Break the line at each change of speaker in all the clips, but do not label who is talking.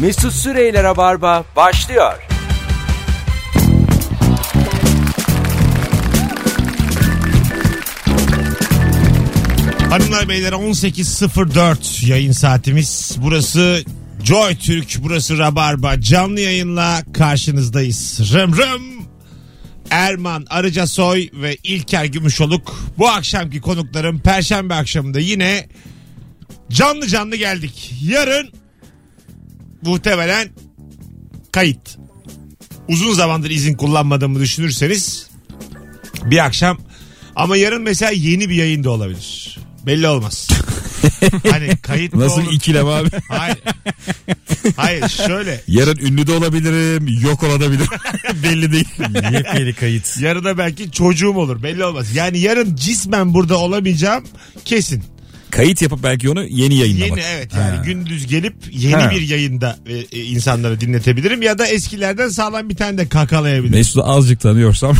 Mesut Süreyler'e barba başlıyor.
Hanımlar beyler 18.04 yayın saatimiz. Burası Joy Türk, burası Rabarba. Canlı yayınla karşınızdayız. Rım rım. Erman Arıcasoy ve İlker Gümüşoluk. Bu akşamki konuklarım Perşembe akşamında yine canlı canlı geldik. Yarın muhtemelen kayıt. Uzun zamandır izin kullanmadığımı düşünürseniz bir akşam ama yarın mesela yeni bir yayın da olabilir. Belli olmaz. hani kayıt mı
Nasıl
olur?
ikilem abi?
Hayır. Hayır şöyle.
Yarın ünlü de olabilirim, yok olabilirim. Belli değil.
Yepyeni kayıt.
Yarına belki çocuğum olur belli olmaz. Yani yarın cismen burada olamayacağım kesin.
Kayıt yapıp belki onu yeni yayınlamak.
Yeni evet yani gündüz gelip yeni
Ha.
bir yayında e, e, insanları dinletebilirim ya da eskilerden sağlam bir tane de kakalayabilirim.
Mesut'u azıcık tanıyorsam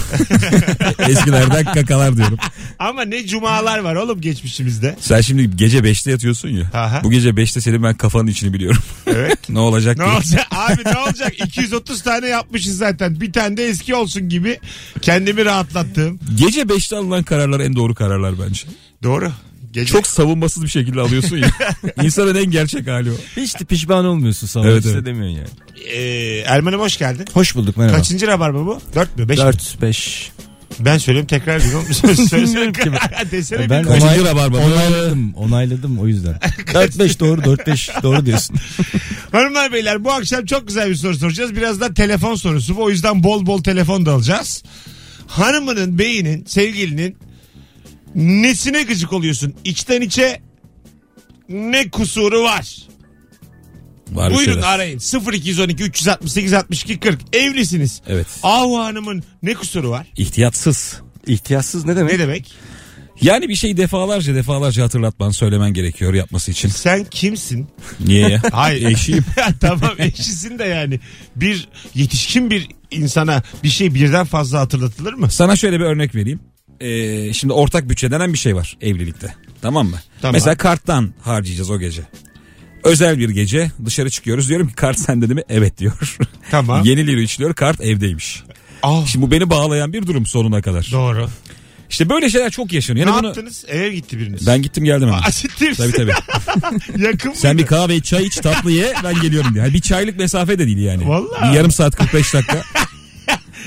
eskilerden kakalar diyorum.
Ama ne cumalar var oğlum geçmişimizde.
Sen şimdi gece 5'te yatıyorsun ya.
Aha.
Bu gece 5'te senin ben kafanın içini biliyorum.
Evet.
ne olacak
Ne
diye.
olacak abi ne olacak 230 tane yapmışız zaten bir tane de eski olsun gibi kendimi rahatlattım.
Gece 5'te alınan kararlar en doğru kararlar bence.
Doğru. Gece...
Çok savunmasız bir şekilde alıyorsun ya. İnsanın en gerçek hali o.
Hiç de pişman olmuyorsun sana.
Evet,
Hiç
evet.
de demiyorsun yani.
Ee, Erman'ım hoş geldin.
Hoş bulduk merhaba.
Kaçıncı rabarba bu? 4 mü? 5 mi?
4, 5.
Ben söylüyorum tekrar bir oğlum. Söyle söyle. Desene
Ben
bir.
Kaçıncı
onay-
rabarba?
onayladım. Onayladım o yüzden. 4, 5 doğru 4, 5 doğru diyorsun.
Hanımlar beyler bu akşam çok güzel bir soru soracağız. Biraz da telefon sorusu. bu. O yüzden bol bol telefon da alacağız. Hanımının, beyinin, sevgilinin nesine gıcık oluyorsun? İçten içe ne kusuru var?
Var bir
Buyurun
şeyler.
arayın. 0212 368 62 40. Evlisiniz.
Evet.
Ahu Hanım'ın ne kusuru var?
İhtiyatsız.
İhtiyatsız ne demek?
Ne demek?
Yani bir şeyi defalarca defalarca hatırlatman söylemen gerekiyor yapması için.
Sen kimsin?
Niye ya?
Hayır.
Eşiyim.
tamam eşisin de yani. Bir yetişkin bir insana bir şey birden fazla hatırlatılır mı?
Sana şöyle bir örnek vereyim. Ee, şimdi ortak bütçe denen bir şey var evlilikte. Tamam mı?
Tamam.
Mesela karttan harcayacağız o gece. Özel bir gece dışarı çıkıyoruz. Diyorum ki kart sende değil mi? Evet diyor.
Tamam.
Yeni lira içiliyor kart evdeymiş.
Ah,
Şimdi bu beni bağlayan bir durum sonuna kadar.
Doğru.
İşte böyle şeyler çok yaşanıyor.
ne
Yani bunu-
yaptınız? Eve gitti biriniz.
Ben gittim geldim hemen.
Asittim.
tabii tabii.
Yakın
Sen bir
mıydı?
kahve iç, çay iç, tatlı ye ben geliyorum diye. Yani bir çaylık mesafe de değil yani.
Vallahi.
Bir yarım saat 45 dakika.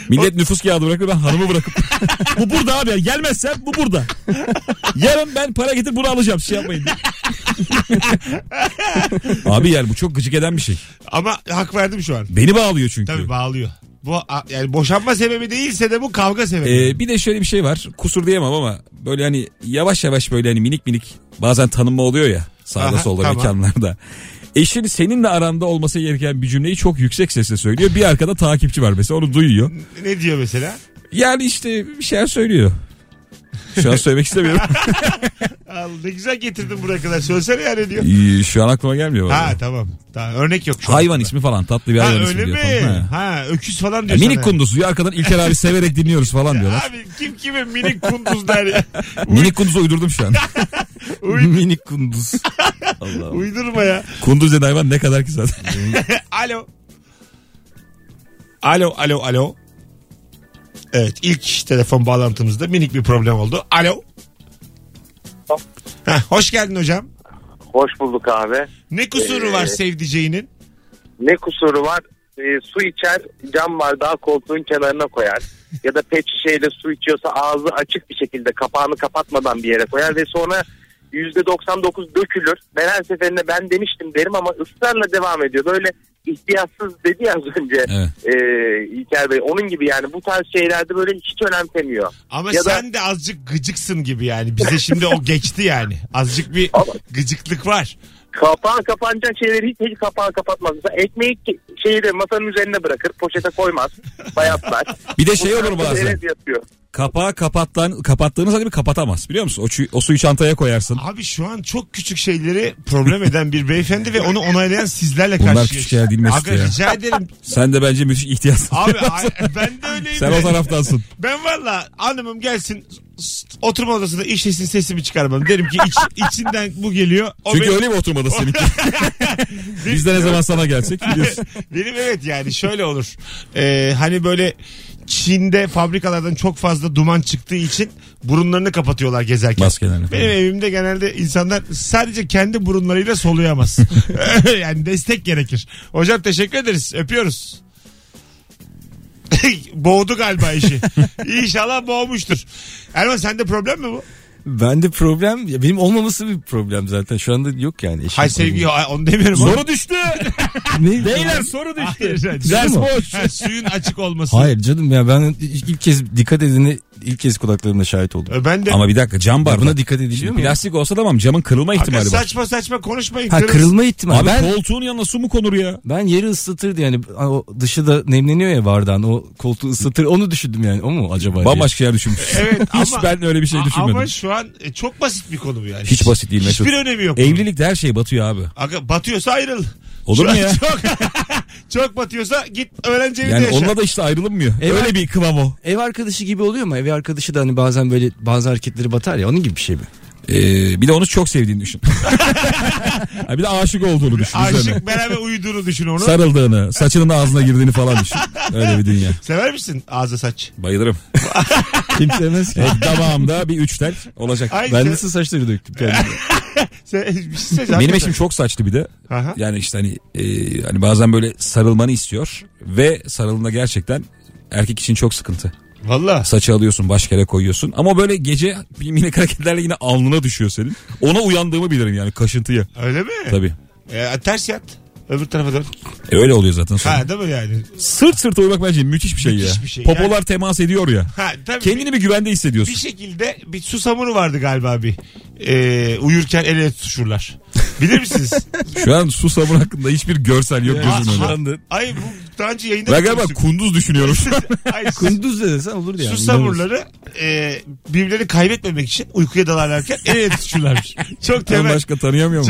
Millet nüfus kağıdı bırakıyor ben hanımı bırakıp. bu burada abi ya gelmezsem bu burada. Yarın ben para getir bunu alacağım şey yapmayın diye. abi yani bu çok gıcık eden bir şey.
Ama hak verdim şu an.
Beni bağlıyor çünkü.
Tabii bağlıyor. Bu a- yani boşanma sebebi değilse de bu kavga sebebi.
Ee, bir de şöyle bir şey var. Kusur diyemem ama böyle hani yavaş yavaş böyle hani minik minik bazen tanınma oluyor ya sağda
Aha,
solda
tamam.
mekanlarda. Eşin seninle aranda olması gereken bir cümleyi çok yüksek sesle söylüyor. Bir arkada takipçi var mesela onu duyuyor.
Ne diyor mesela?
Yani işte bir şeyler söylüyor. Şu an söylemek istemiyorum.
Al, ne güzel getirdin buraya kadar. Söylesene ya ne diyor?
Ee, Şu an aklıma gelmiyor.
Ha
vallahi.
tamam. tamam. Örnek yok şu an.
hayvan ismi falan tatlı bir
Ha
hayvan
öyle
ismi
mi?
diyor falan. Ha.
Ha öküz falan
Ya
diyor
minik
sana.
kunduz diyor arkadan İlker abi severek dinliyoruz falan diyorlar.
Abi kim kime minik kunduz der ya.
Minik kunduzu uydurdum şu an.
Minik kunduz. Allah Allah.
Uydurma ya.
kunduz denen hayvan ne kadar ki zaten.
Alo. Alo alo alo. Evet ilk telefon bağlantımızda minik bir problem oldu. Alo. Heh, hoş geldin hocam.
Hoş bulduk abi.
Ne kusuru var
Ee,
sevdiceğinin?
Ne kusuru var? Ee, su içer, cam bardağı koltuğun kenarına koyar. Ya da pet şişeyle su içiyorsa ağzı açık bir şekilde kapağını kapatmadan bir yere koyar ve sonra %99 dökülür. Ben her seferinde ben demiştim derim ama ısrarla devam ediyor. Böyle ihtiyatsız dedi ya az önce
Evet.
ee, İlker Bey. Onun gibi yani bu tarz şeylerde böyle hiç önemsemiyor.
Ama
ya da-
sen de azıcık gıcıksın gibi yani. Bize şimdi o geçti yani. Azıcık bir
Ama-
gıcıklık var.
Kapağı kapanacak şeyleri hiç, hiç kapağı kapatmaz. Mesela ekmeği ki- şeyi de masanın üzerine bırakır. Poşete koymaz. Bayatlar.
Bir de şey
Bu
olur
tarz
bazen.
şeyler yapıyor.
kapağı kapattan, kapattığınız halde bir kapatamaz biliyor musun? O, çu- o suyu çantaya koyarsın.
Abi şu an çok küçük şeyleri problem eden bir beyefendi ve onu onaylayan sizlerle
Bunlar
karşıya.
küçük şeyler değil Mesut
Abi
ya.
rica ederim.
Sen de bence müthiş ihtiyaç.
Abi ay- ben de öyleyim.
Sen o taraftansın.
Ben valla hanımım gelsin s- oturma odasında işlesin sesimi çıkarmam. Derim ki iç- içinden bu geliyor. O
Çünkü
benim,
öyle mi oturmada seninki? Biz de ne zaman sana gelsek biliyorsun.
benim evet yani şöyle olur. Ee, hani böyle Çin'de fabrikalardan çok fazla duman çıktığı için burunlarını kapatıyorlar gezerken.
Maskelerini.
Benim evimde genelde insanlar sadece kendi burunlarıyla soluyamaz. yani destek gerekir. Hocam teşekkür ederiz. Öpüyoruz. Boğdu galiba işi. İnşallah boğmuştur. Erman sende problem mi bu?
Bende problem ya benim olmaması bir problem zaten. Şu anda yok yani. eşim
Hay sevgi ay, onu demiyorum.
Soru düştü.
problem. Ne?
Beyler soru düştü.
Hayır, hayır.
Ders
Soru mu?
boş.
Ha, suyun açık olması.
Hayır canım ya ben ilk kez dikkat edeni ilk kez kulaklarımla şahit oldum.
Ö, E, Ben de
Ama bir dakika cam bardak.
Buna dikkat ediliyor mu?
Plastik olsa tamam camın kırılma
Aga,
ihtimali var.
saçma saçma konuşmayın.
Ha
Kırıl-
kırılma ihtimali.
Abi
ben
koltuğun yanına su mu konur ya?
ben yeri ıslatırdı yani o dışı da nemleniyor ya bardağın o koltuğu ıslatır onu düşündüm yani o mu acaba? diye.
Bambaşka yer düşünmüş.
Evet,
Hiç
ama-
ben öyle bir şey
A-
düşünmedim.
Ama şu an e, çok basit bir konu bu yani.
Hiç basit değil Mesut.
Hiçbir önemi yok.
Evlilikte her şey batıyor abi.
Aga, batıyorsa ayrıl.
Olur
Şu
mu
an
ya?
Çok, çok batıyorsa git öğrenci evinde
Yani
yaşa.
onunla da işte ayrılınmıyor.
Evet.
Öyle bir kıvam o.
Ev arkadaşı gibi oluyor mu? Ev arkadaşı da hani bazen böyle bazı hareketleri batar ya onun gibi bir şey mi?
Ee, bir de onu çok sevdiğini düşün. Ha, bir de aşık olduğunu düşün. üzerine.
Aşık beraber uyuduğunu düşün onu.
Sarıldığını, saçının da ağzına girdiğini falan düşün. Öyle bir dünya.
Sever misin ağza saç?
Bayılırım.
Kimse sevmez ki.
Evet, damağımda bir üç tel olacak.
Ay, şey-
Ben
sen-
nasıl saçları döktüm kendime.
sen- bir şey söyleyeceğim.
Benim eşim çok saçlı bir de.
Aha.
Yani işte hani e, hani bazen böyle sarılmanı istiyor ve sarılığında gerçekten erkek için çok sıkıntı.
Valla.
Saçı alıyorsun baş kere koyuyorsun ama böyle gece minik hareketlerle yine alnına düşüyor senin. Ona uyandığımı bilirim yani kaşıntıya.
Öyle mi?
Tabii.
E, ters yat. Öbür tarafa dön.
E, öyle oluyor zaten sonra.
Ha değil mi yani?
Sırt sırta uyumak bence müthiş bir şey
Müthiş
ya.
bir şey.
Popolar
Yani-
temas ediyor ya.
Ha tabii.
Kendini bir güvende hissediyorsun.
bir şekilde bir susamuru vardı galiba bir. E, uyurken el ele tutuşurlar. Bilir misiniz?
Şu an su sabun hakkında hiçbir görsel yok
Ha-
gözümün
ha-
önünde.
Ay bu daha önce yayında...
Ben galiba
konuştuk.
kunduz düşünüyorum.
Ay, sus-
Kunduz da desen olurdu yani.
Susamurları e, birbirlerini kaybetmemek için uykuya dalarlarken el ele tutuşurlarmış. Çok
Ben
temel.
başka tanıyamıyor mu?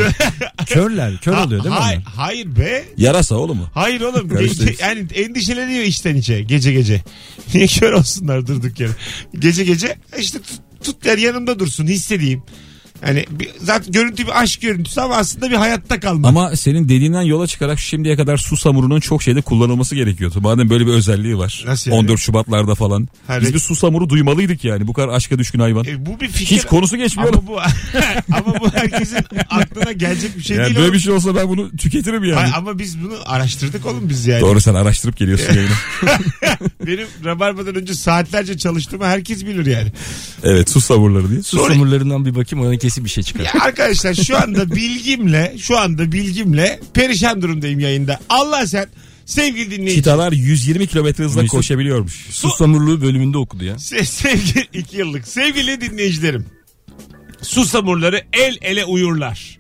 Körler, kör oluyor değil mi?
hayır,
onlar?
hayır be.
Yarasa oğlum mu?
Hayır oğlum.
Karıştırıyorsun.
Gece- yani endişeleniyor içten içe gece gece. Niye kör olsunlar durduk yere. Gece gece e işte tut, tut der yanımda dursun hissedeyim. Hani bir- zaten görüntü bir aşk görüntüsü ama aslında bir hayatta kalma.
Ama senin dediğinden yola çıkarak şimdiye kadar su samurunun çok şeyde kullanılması gerekiyordu. Madem böyle bir özelliği var.
Nasıl yani?
14 Şubatlarda falan.
Ha,
Biz
re-
bir su samuru duymalıydık yani. Bu kadar aşka düşkün hayvan.
E, bu bir fikir.
Hiç konusu geçmiyor. oğlum.
ama bu, ama bu herkesin aklına gelecek bir şey
yani
değil.
böyle
oğlum.
bir şey olsa ben bunu tüketirim yani.
Hayır, ama biz bunu araştırdık oğlum biz yani.
Doğru sen araştırıp geliyorsun yayına.
Benim Rabarba'dan önce saatlerce çalıştığımı herkes bilir yani.
Evet su samurları diye.
Susamurlarından bir bakayım ona kesin bir şey çıkar.
Ya arkadaşlar şu anda bilgimle şu anda bilgimle perişan durumdayım yayında. Allah sen sevgili dinleyici.
Çitalar 120 kilometre hızla
Mesut-
koşabiliyormuş.
Susamurluğu bölümünde okudu ya.
Se- sevgili iki yıllık sevgili dinleyicilerim. Susamurları el ele uyurlar.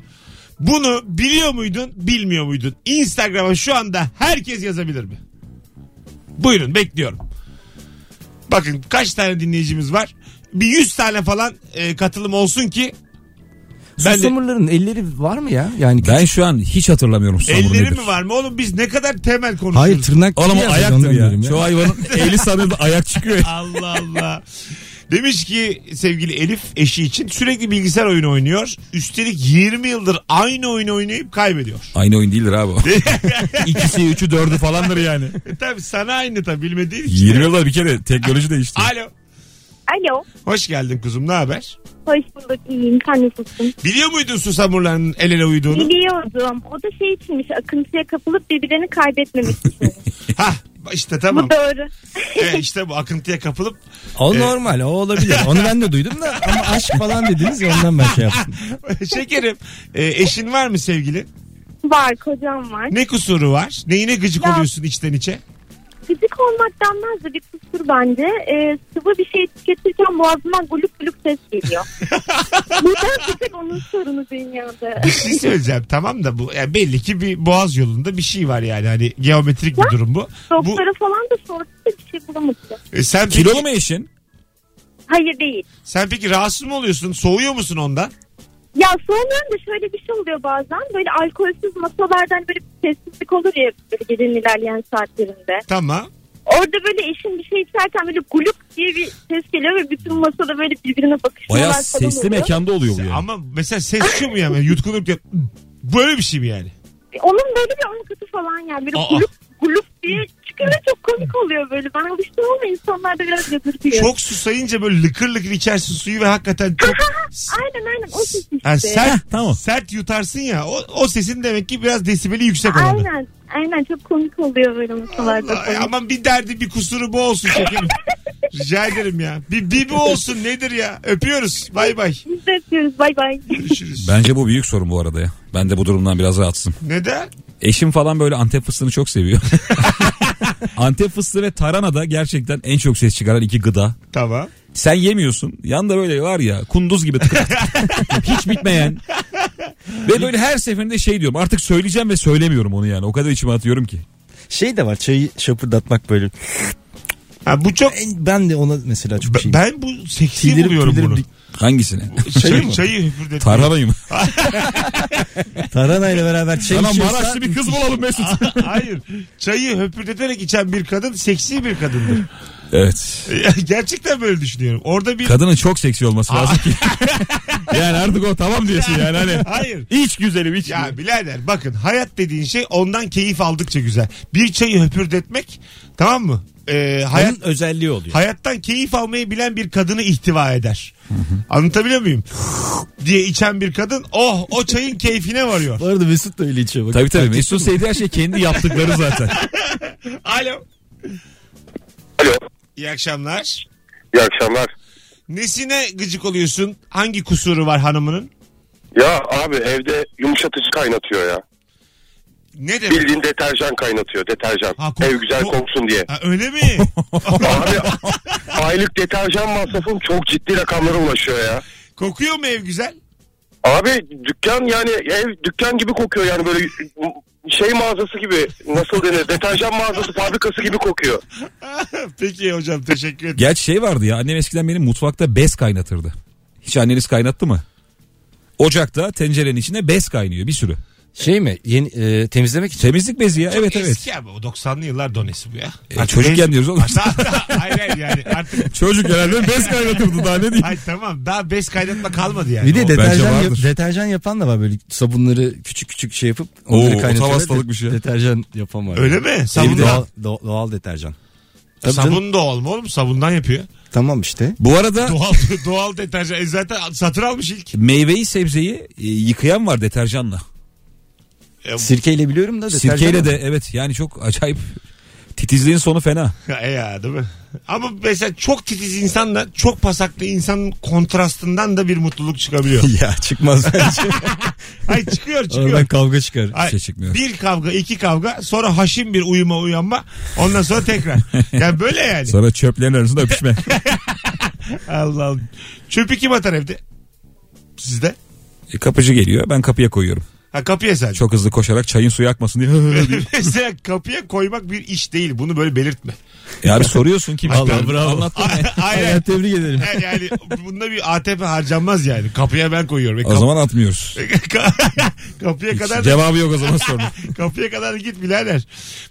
Bunu biliyor muydun, bilmiyor muydun? Instagram'a şu anda herkes yazabilir mi? Buyurun bekliyorum. Bakın kaç tane dinleyicimiz var? Bir 100 tane falan e, katılım olsun ki Ben de-
Susamurların elleri var mı ya? Yani
Ben şu an hiç hatırlamıyorum su samuru
elleri
nedir.
mi var mı oğlum? Biz ne kadar temel konuşuyoruz.
Hayır tırnak
Oğlum o
değil
ayaktır
şey ondan
ya.
diyorum
Şu hayvanın eli sanırdı ayak çıkıyor. ya.
Allah Allah. Demiş ki sevgili Elif eşi için sürekli bilgisayar oyunu oynuyor. Üstelik 20 yıldır aynı oyunu oynayıp kaybediyor.
Aynı oyun değildir abi. o. İkisi, üçü, dördü falandır yani.
E tabi sana aynı tabi bilmediğin için.
20 yılda bir kere teknoloji değişti.
Alo.
Alo.
Hoş geldin kuzum ne haber?
Hoş bulduk. İyiyim. Sen nasılsın?
Biliyor muydun susamurların el ele uyuduğunu?
Biliyordum. O da şey içinmiş. Akıntıya kapılıp birbirlerini kaybetmemek için.
Hah işte tamam.
Bu doğru.
e, işte bu akıntıya kapılıp
O normal o olabilir. Onu ben de duydum da ama aşk falan dediniz ya ondan ben şey yaptım.
şekerim e, eşin var mı sevgili?
Var. Kocam var.
Ne kusuru var? Neyine gıcık
Ya.
oluyorsun içten içe?
Gıcık olmak denmez de bir kusur bence. Ee, sıvı bir şey tüketirken boğazımdan gulüp gulüp ses geliyor. Buradan bir tek onun sorunu dünyada.
Bir şey söyleyeceğim tamam da bu ya belli ki bir boğaz yolunda bir şey var yani hani geometrik bir durum bu. bu
Doktora falan da sordu da bir şey bulamadı.
e, sen
Kilolu
peki-
mu eşin?
Hayır değil.
Sen peki rahatsız mı oluyorsun? Soğuyor musun ondan?
Ya soğumuyorum da şöyle bir şey oluyor bazen. Böyle alkolsüz masalardan böyle bir sessizlik olur ya böyle gecenin ilerleyen saatlerinde.
Tamam.
Orada böyle eşim bir şey içerken böyle gulup diye bir ses geliyor ve bütün masada böyle birbirine bakışmalar
Bayağı
falan
sesli
oluyor.
mekanda oluyor bu yani.
Ama mesela ses şu mu yani? Yutkunurken böyle bir şey mi yani?
E, Onun böyle bir omkutu falan yani böyle
Aa.
gulup gulup diye çıkınca çok komik oluyor böyle. Ben alıştım ama insanlar da biraz yadırgıyor.
Çok susayınca böyle lıkır lıkır içersin suyu ve hakikaten çok
Aynen aynen o ses işte.
yani sert,
tamam.
sert yutarsın ya. O, o sesin demek ki biraz desibeli yüksek olanı.
Aynen aynen çok komik oluyor böyle masalarda.
Allah,
falan.
aman bir derdi bir kusuru bu olsun şekerim. Rica ederim ya. Bir, bir bu olsun nedir ya? Öpüyoruz. Bay bay.
Biz de öpüyoruz bay bay.
Görüşürüz.
Bence bu büyük sorun bu arada ya. Ben de bu durumdan biraz rahatsızım.
Neden?
Eşim falan böyle Antep fıstığını çok seviyor. Antep fıstığı ve tarhana da gerçekten en çok ses çıkaran iki gıda.
Tamam.
Sen yemiyorsun. Yanda böyle var ya kunduz gibi tıkır tıkır tıkır. Hiç bitmeyen. Ve böyle her seferinde şey diyorum artık söyleyeceğim ve söylemiyorum onu yani. O kadar içime atıyorum ki.
Şey de var çayı şapırdatmak böyle.
Ha, bu çok
Ben de ona mesela çok
ben,
şeyim.
ben bu seksi
Tüylerim-
buluyorum
tüylerim
bunu.
dik-
Hangisini?
Çayı, çayı hüpürdetmeyi.
Tarhanayı mı?
Taranayla beraber çay
Sana
içiyorsa-
Maraşlı bir kız bulalım Mesut.
Hayır. Çayı höpürdeterek içen bir kadın seksi bir kadındır.
evet.
Gerçekten böyle düşünüyorum. Orada bir...
Kadının çok seksi olması lazım ki. yani artık o tamam diyorsun yani hani.
Hayır.
İç güzelim iç.
Ya birader bakın hayat dediğin şey ondan keyif aldıkça güzel. Bir çayı höpürdetmek tamam mı? Ee, hayat
Onun özelliği oluyor.
hayattan keyif almayı bilen bir kadını ihtiva eder. Anlatabiliyor muyum? diye içen bir kadın oh o çayın keyfine varıyor.
Bu arada Mesut da öyle içiyor. Bak.
Tabii tabii Mesut'un sevdiği her şey kendi yaptıkları zaten.
Alo.
Alo.
İyi akşamlar.
İyi akşamlar.
Nesine gıcık oluyorsun? Hangi kusuru var hanımının?
Ya abi evde yumuşatıcı kaynatıyor ya.
Ne demek?
Bildiğin deterjan kaynatıyor deterjan.
Ha, kok-
Ev güzel
kok-
koksun diye.
Ha, öyle mi?
Abi aylık deterjan masrafım çok ciddi rakamlara ulaşıyor ya.
Kokuyor mu ev güzel?
Abi dükkan yani ev dükkan gibi kokuyor yani böyle şey mağazası gibi nasıl denir deterjan mağazası fabrikası gibi kokuyor.
Peki hocam teşekkür ederim.
Gerçi şey vardı ya annem eskiden benim mutfakta bez kaynatırdı. Hiç anneniz kaynattı mı? Ocakta tencerenin içinde bez kaynıyor bir sürü.
Şey mi? Yeni, e, temizlemek için.
Temizlik bezi ya evet evet.
Eski abi o 90'lı yıllar donesi bu ya.
E, çocukken diyoruz oğlum.
hayır hayır yani artık
Çocuk herhalde bez kaynatırdı daha ne diyeyim.
hayır, tamam daha bez kaynatma kalmadı yani.
Bir
O-
de
bence
deterjan, yap-
vardır.
deterjan yapan da var böyle sabunları küçük küçük şey yapıp
Oo,
onları
o tam
kaynatıyorlar.
hastalıkmış ya.
Deterjan yapan var.
Öyle mi?
Evde
Sabun
doğal, doğal, doğal deterjan. Tabii canım.
Sabun doğal mı oğlum? Sabundan yapıyor.
Tamam işte.
Bu arada
Doğal doğal deterjan. E zaten satır almış ilk.
meyveyi sebzeyi e, yıkayan var deterjanla.
E,
Sirkeyle biliyorum da deterjan.
Sirkeyle
var.
de evet yani çok acayip titizliğin sonu fena.
E ya değil mi? Ama mesela çok titiz insanla çok pasaklı insanın kontrastından da bir mutluluk çıkabiliyor.
ya çıkmaz bence.
Ay çıkıyor çıkıyor.
Oradan kavga çıkar.
Ay,
şey çıkmıyor.
Bir kavga iki kavga sonra haşim bir uyuma uyanma ondan sonra tekrar. yani böyle yani.
Sonra çöplerin arasında öpüşme.
Allah Allah. Çöpü kim atar evde? Sizde?
E, Kapıcı geliyor ben kapıya koyuyorum.
Ha kapıya sen.
Çok hızlı koşarak çayın suyu akmasın diye.
Mesela kapıya koymak bir iş değil. Bunu böyle belirtme.
ya bir soruyorsun kim?
Vallahi bravo.
Anlattın mı?
Aynen.
Ben tebrik ederim.
Yani- yani bunda bir ATP harcanmaz yani. Kapıya ben koyuyorum. Ve
O
kap-
zaman atmıyoruz.
kapıya E, kadar da-
Cevabı yok o zaman sorunun.
kapıya kadar git birader.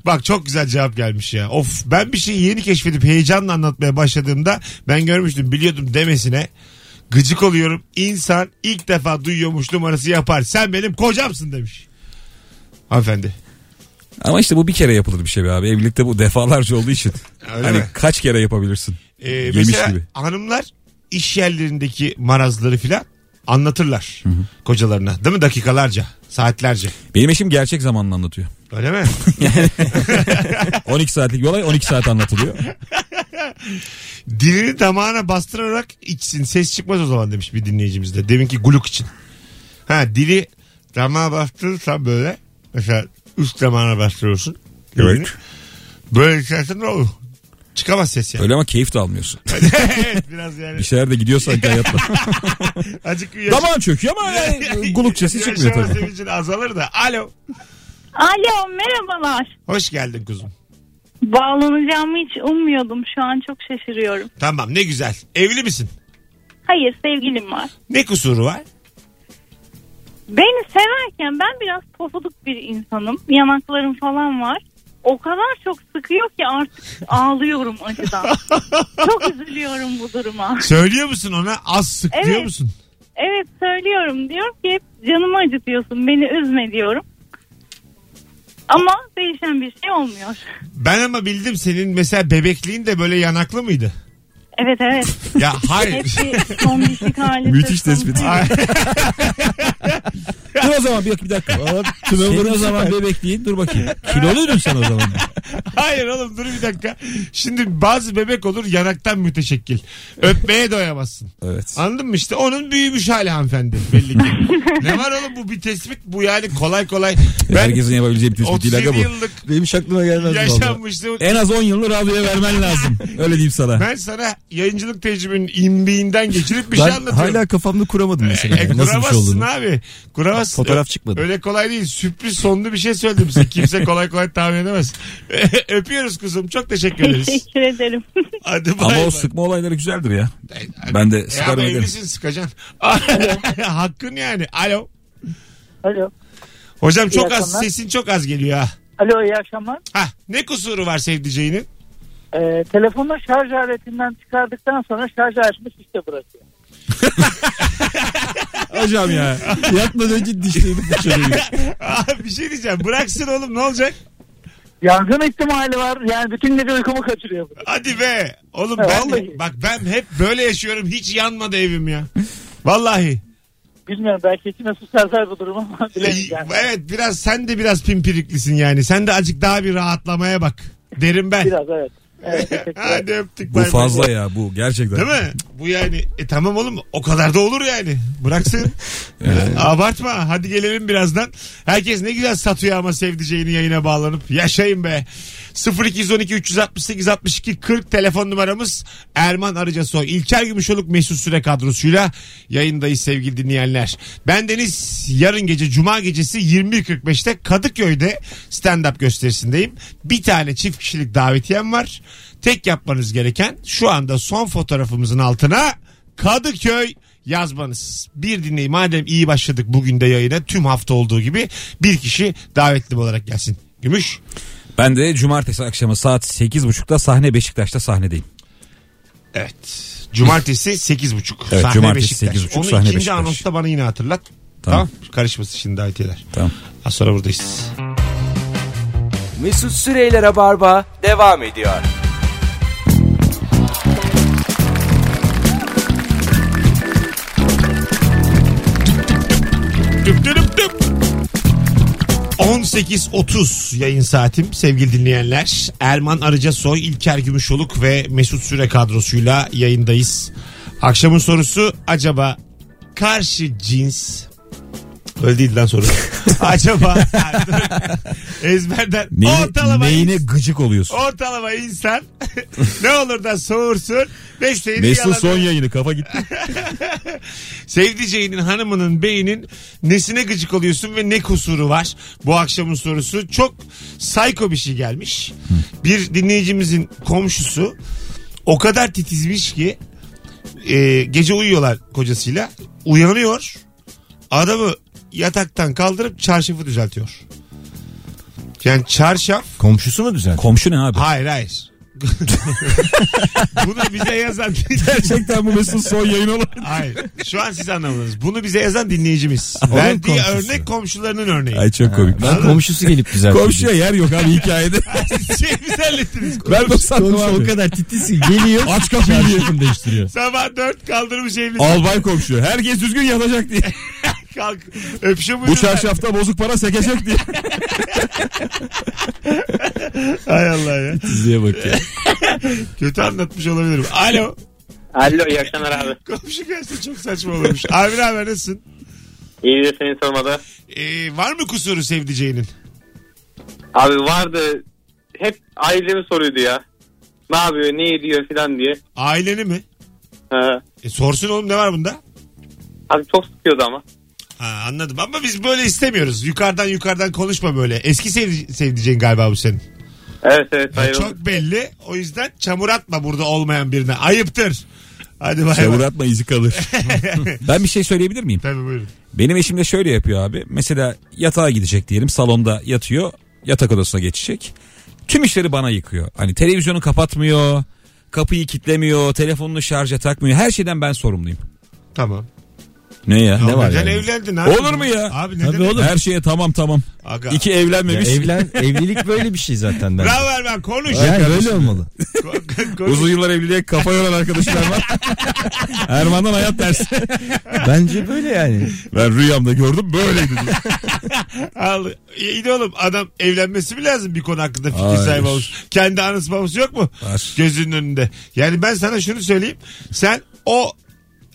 Bak çok güzel cevap gelmiş ya. Of ben bir şeyi yeni keşfedip heyecanla anlatmaya başladığımda ben görmüştüm biliyordum demesine gıcık oluyorum. İnsan ilk defa duyuyormuş numarası yapar. Sen benim kocamsın demiş. Hanımefendi.
Ama işte bu bir kere yapılır bir şey be abi. Evlilikte bu defalarca olduğu için.
Öyle
hani
mi?
kaç kere yapabilirsin?
Ee,
Yemiş
mesela
gibi.
hanımlar iş yerlerindeki marazları filan anlatırlar kocalarına. Değil mi? Dakikalarca, saatlerce.
Benim eşim gerçek zamanla anlatıyor.
Öyle mi?
12 saatlik bir olay 12 saat anlatılıyor.
Dilini damağına bastırarak içsin. Ses çıkmaz o zaman demiş bir dinleyicimiz de. Deminki gluk için. Ha dili damağa bastırırsan böyle mesela üst damağına bastırıyorsun. Dilini. Böyle içersen ne olur? Çıkamaz ses yani.
Öyle ama keyif de almıyorsun.
evet biraz yani.
Bir şeyler de gidiyor sanki hayatla.
Azıcık bir yaş-
Damağın çöküyor ama yani gulukçası çıkmıyor
yaşama
tabii.
sevincin azalır da. Alo.
Alo merhabalar.
Hoş geldin kuzum.
Bağlanacağımı hiç ummuyordum. Şu an çok şaşırıyorum.
Tamam ne güzel. Evli misin?
Hayır sevgilim var.
Ne kusuru var?
Beni severken ben biraz pofuduk bir insanım. Yanaklarım falan var. O kadar çok sıkıyor ki artık ağlıyorum acıdan. çok üzülüyorum bu duruma.
Söylüyor musun ona az sık
Evet.
diyor musun?
Evet söylüyorum. Diyorum ki hep canımı acıtıyorsun. Beni üzme diyorum. Ama değişen bir şey olmuyor.
Ben ama bildim senin mesela bebekliğin de böyle yanaklı mıydı?
Evet evet.
Ya hayır.
Hepsi tombişlik hali.
Müthiş
söz konusu.
tespit.
Ay,
Dur o zaman bir, bir dakika. Aa, Senin o zaman bebek değil dur bakayım. Kiloluydun sen o zaman.
hayır oğlum dur bir dakika. Şimdi bazı bebek olur yanaktan müteşekkil. Öpmeye doyamazsın.
Evet.
Anladın mı işte onun büyümüş hali hanımefendi belli ki. ne var oğlum bu bir tespit bu yani kolay kolay. Ben
Herkesin yapabileceği bir tespit değil.
37
aga bu.
yıllık
Benim hiç aklıma gelmez valla.
yaşanmışlığım.
En az 10 yılını radyoya vermen lazım. Öyle diyeyim sana.
Ben sana yayıncılık tecrübenin imbiğinden geçirip bir
Ben
şey anlatıyorum.
hala kafamda kuramadım mesela.
E,
nasıl bir şey
kuramazsın
olduğunu.
abi. Kuramazsın.
Fotoğraf çıkmadı.
Öyle kolay değil. Sürpriz sonlu bir şey söyledim size. Kimse kolay kolay tahmin edemez. Öpüyoruz kuzum. Çok teşekkür ederiz.
Teşekkür ederim.
Hadi bay
Ama
bay.
o sıkma olayları güzeldir ya.
Hadi.
Ben de
E
sıkarım
ama
ederim.
evlisin sıkacaksın. Hakkın yani. Alo.
Alo.
Hocam çok
İyi
az
akşamlar.
sesin çok az geliyor ha.
Alo iyi akşamlar.
Ha ne kusuru var sevdiceğinin?
Ee, telefonu şarj aletinden çıkardıktan sonra şarj aletini işte bırakıyor.
Hocam ya.
Yatmadan önce dişlerini fırçalıyor.
Abi bir şey diyeceğim. Bıraksın oğlum ne olacak?
Yangın ihtimali var. Yani bütün gece uykumu kaçırıyor. bu.
Hadi be. Oğlum
Ha,
ben
vallahi.
bak ben hep böyle yaşıyorum. Hiç yanmadı evim ya. Vallahi.
Bilmiyorum belki içime su serser bu durumu ama bilemeyeceğim.
Evet biraz sen de biraz pimpiriklisin yani. Sen de azıcık daha bir rahatlamaya bak. Derim ben.
Biraz evet. Evet, teşekkür ederim.
Hadi öptük.
Bu
bay bay.
fazla ya bu gerçekten.
Değil mi? Bu yani e tamam oğlum o kadar da olur yani. Bıraksın. Abartma. Hadi gelelim birazdan. Herkes ne güzel satıyor ama sevdiceğini yayına bağlanıp. Yaşayın be. 0212 368 62 40 telefon numaramız Erman Arıcasoy. İlker Gümüşoluk Mesut Süre kadrosuyla yayındayız sevgili dinleyenler. Ben Deniz yarın gece Cuma gecesi 21.45'te Kadıköy'de stand-up gösterisindeyim. Bir tane çift kişilik davetiyem var. Tek yapmanız gereken şu anda son fotoğrafımızın altına Kadıköy yazmanız. Bir dinleyin. Madem iyi başladık bugün de yayına tüm hafta olduğu gibi bir kişi davetli olarak gelsin. Gümüş.
Ben de cumartesi akşamı saat 8.30'da sahne Beşiktaş'ta sahnedeyim.
Evet. Cumartesi 8.30.
Evet,
sahne
cumartesi
Beşiktaş.
8.30
Onu
sahne
ikinci
Beşiktaş.
anonsta bana yine hatırlat. Tamam.
Tamam.
Karışmasın şimdi davetiyeler.
Tamam.
Az sonra buradayız.
Mesut Süreyler'e barba devam ediyor.
Düp düp düp. 18.30 yayın saatim sevgili dinleyenler. Erman Arıca Soy, İlker Gümüşoluk ve Mesut Süre kadrosuyla yayındayız. Akşamın sorusu acaba karşı cins Öyle değil lan soru. acaba ezberden
Neyine,
ortalama
neyine gıcık oluyorsun?
ortalama insan ne olur da soğursun. Beşteğini
Mesut
yalanır.
son yayını kafa gitti.
Sevdiceğinin, hanımının, beyinin nesine gıcık oluyorsun ve ne kusuru var? Bu akşamın sorusu çok psycho bir şey gelmiş. Bir dinleyicimizin komşusu o kadar titizmiş ki e, gece uyuyorlar kocasıyla. Uyanıyor. Adamı yataktan kaldırıp çarşafı düzeltiyor. Yani çarşaf
Komşusu mu düzeldi?
Komşu ne abi?
Hayır hayır. Bunu bize yazan
Gerçekten bu Mesut son yayın olur.
Hayır. Şu an siz anlamadınız. Bunu bize yazan dinleyicimiz.
Onun
Verdiği
komşusu.
örnek komşularının örneği.
Ay çok komik.
Ben komşusu gelip düzeldi.
Komşuya yer yok abi hikayede.
Şey biz hallettiniz.
ben bu sattım
Komşu o
abi.
kadar titiz ki geliyor.
Aç kapıyı diye.
Çarşafını değiştiriyor.
Sabah dört kaldırmış evli.
Albay komşu. Herkes düzgün yatacak diye.
Kalk. Öpüşe
Bu
buyurun.
çarşafta bozuk para sekecek diye.
Hay Allah ya.
Diziye bak ya.
Kötü anlatmış olabilirim. Alo.
Alo iyi akşamlar abi.
Komşu gelse çok saçma olurmuş. Abi ne haber nasılsın?
İyidir seni sormalı.
Ee, var mı kusuru sevdiceğinin?
Abi vardı hep ailemi soruydu ya. Ne yapıyor ne ediyor filan diye.
Aileni mi?
Ha.
E, sorsun oğlum ne var bunda?
Abi çok sıkıyordu ama.
Ha, anladım ama biz böyle istemiyoruz. Yukarıdan yukarıdan konuşma böyle. Eski sevdi- sevdiceğin galiba bu senin.
Evet evet hayır.
Çok belli. O yüzden çamur atma burada olmayan birine. Ayıptır. Hadi bay
Çavur
bay.
atma izi kalır. ben bir şey söyleyebilir miyim?
Tabii buyurun.
Benim eşim de şöyle yapıyor abi. Mesela yatağa gidecek diyelim. Salonda yatıyor. Yatak odasına geçecek. Tüm işleri bana yıkıyor. Hani televizyonu kapatmıyor. Kapıyı kilitlemiyor. Telefonunu şarja takmıyor. Her şeyden ben sorumluyum.
Tamam.
Ne ya?
Ya
ne var
neden
yani?
evlendin abi?
Olur mu ya?
Abi neden?
Tabii oğlum. Her şeye tamam tamam.
Aga.
İki evlenmemiş.
evlen, evlilik böyle bir şey zaten ben.
Bravo Erman konuş.
Yani böyle olmalı.
Ko- konuş.
Uzun yıllar evliliğe kafa yoran arkadaşlar var. Erman'dan hayat dersi.
Bence böyle yani.
Ben rüyamda gördüm böyleydi. diyor.
Al. İyi de oğlum adam evlenmesi mi lazım bir konu hakkında fikir
Hayır.
sahibi olmuş. Kendi anası babası yok mu?
Var.
Gözünün önünde. Yani ben sana şunu söyleyeyim. Sen o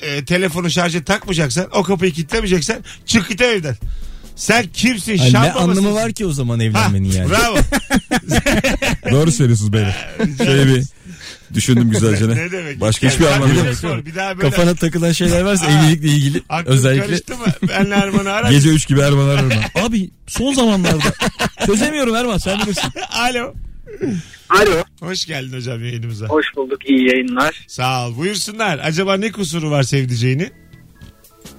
e, telefonu şarja takmayacaksan o kapıyı kilitlemeyeceksen çık git evden. Sen kimsin?
Hani
Şam
ne
babasısın.
anlamı var ki o zaman
Ha,
evlenmenin yani?
Bravo.
Doğru söylüyorsunuz beyler. Şöyle bir düşündüm güzelce.
ne demek?
Başka
Yani
hiçbir
sen
anlamı
bir
yok.
de sor, Bir daha böyle
Kafana takılan şeyler varsa evlilikle ilgili
aklın
özellikle
karıştı mı? Benle Erman'ı ara.
Gece 3 gibi Erman ararım. ben. Abi son zamanlarda çözemiyorum Erman sen bilirsin.
Alo.
Alo.
Hoş geldin hocam yayınımıza.
Hoş bulduk iyi yayınlar.
Sağ ol. Buyursunlar. Acaba ne kusuru var sevdiceğini?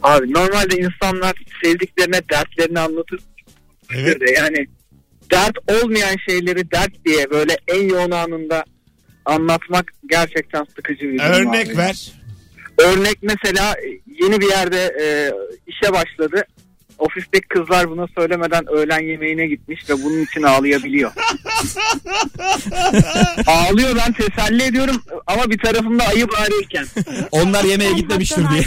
Abi normalde insanlar sevdiklerine dertlerini anlatır.
Evet.
Yani dert olmayan şeyleri dert diye böyle en yoğun anında anlatmak gerçekten sıkıcı bir durum
Örnek
abi.
ver.
Örnek mesela yeni bir yerde e, işe başladı. Ofisteki kızlar buna söylemeden öğlen yemeğine gitmiş ve bunun için ağlayabiliyor. Ağlıyor ben teselli ediyorum ama bir tarafımda ayıp ağrırken.
Onlar yemeğe gitmemiştir diye.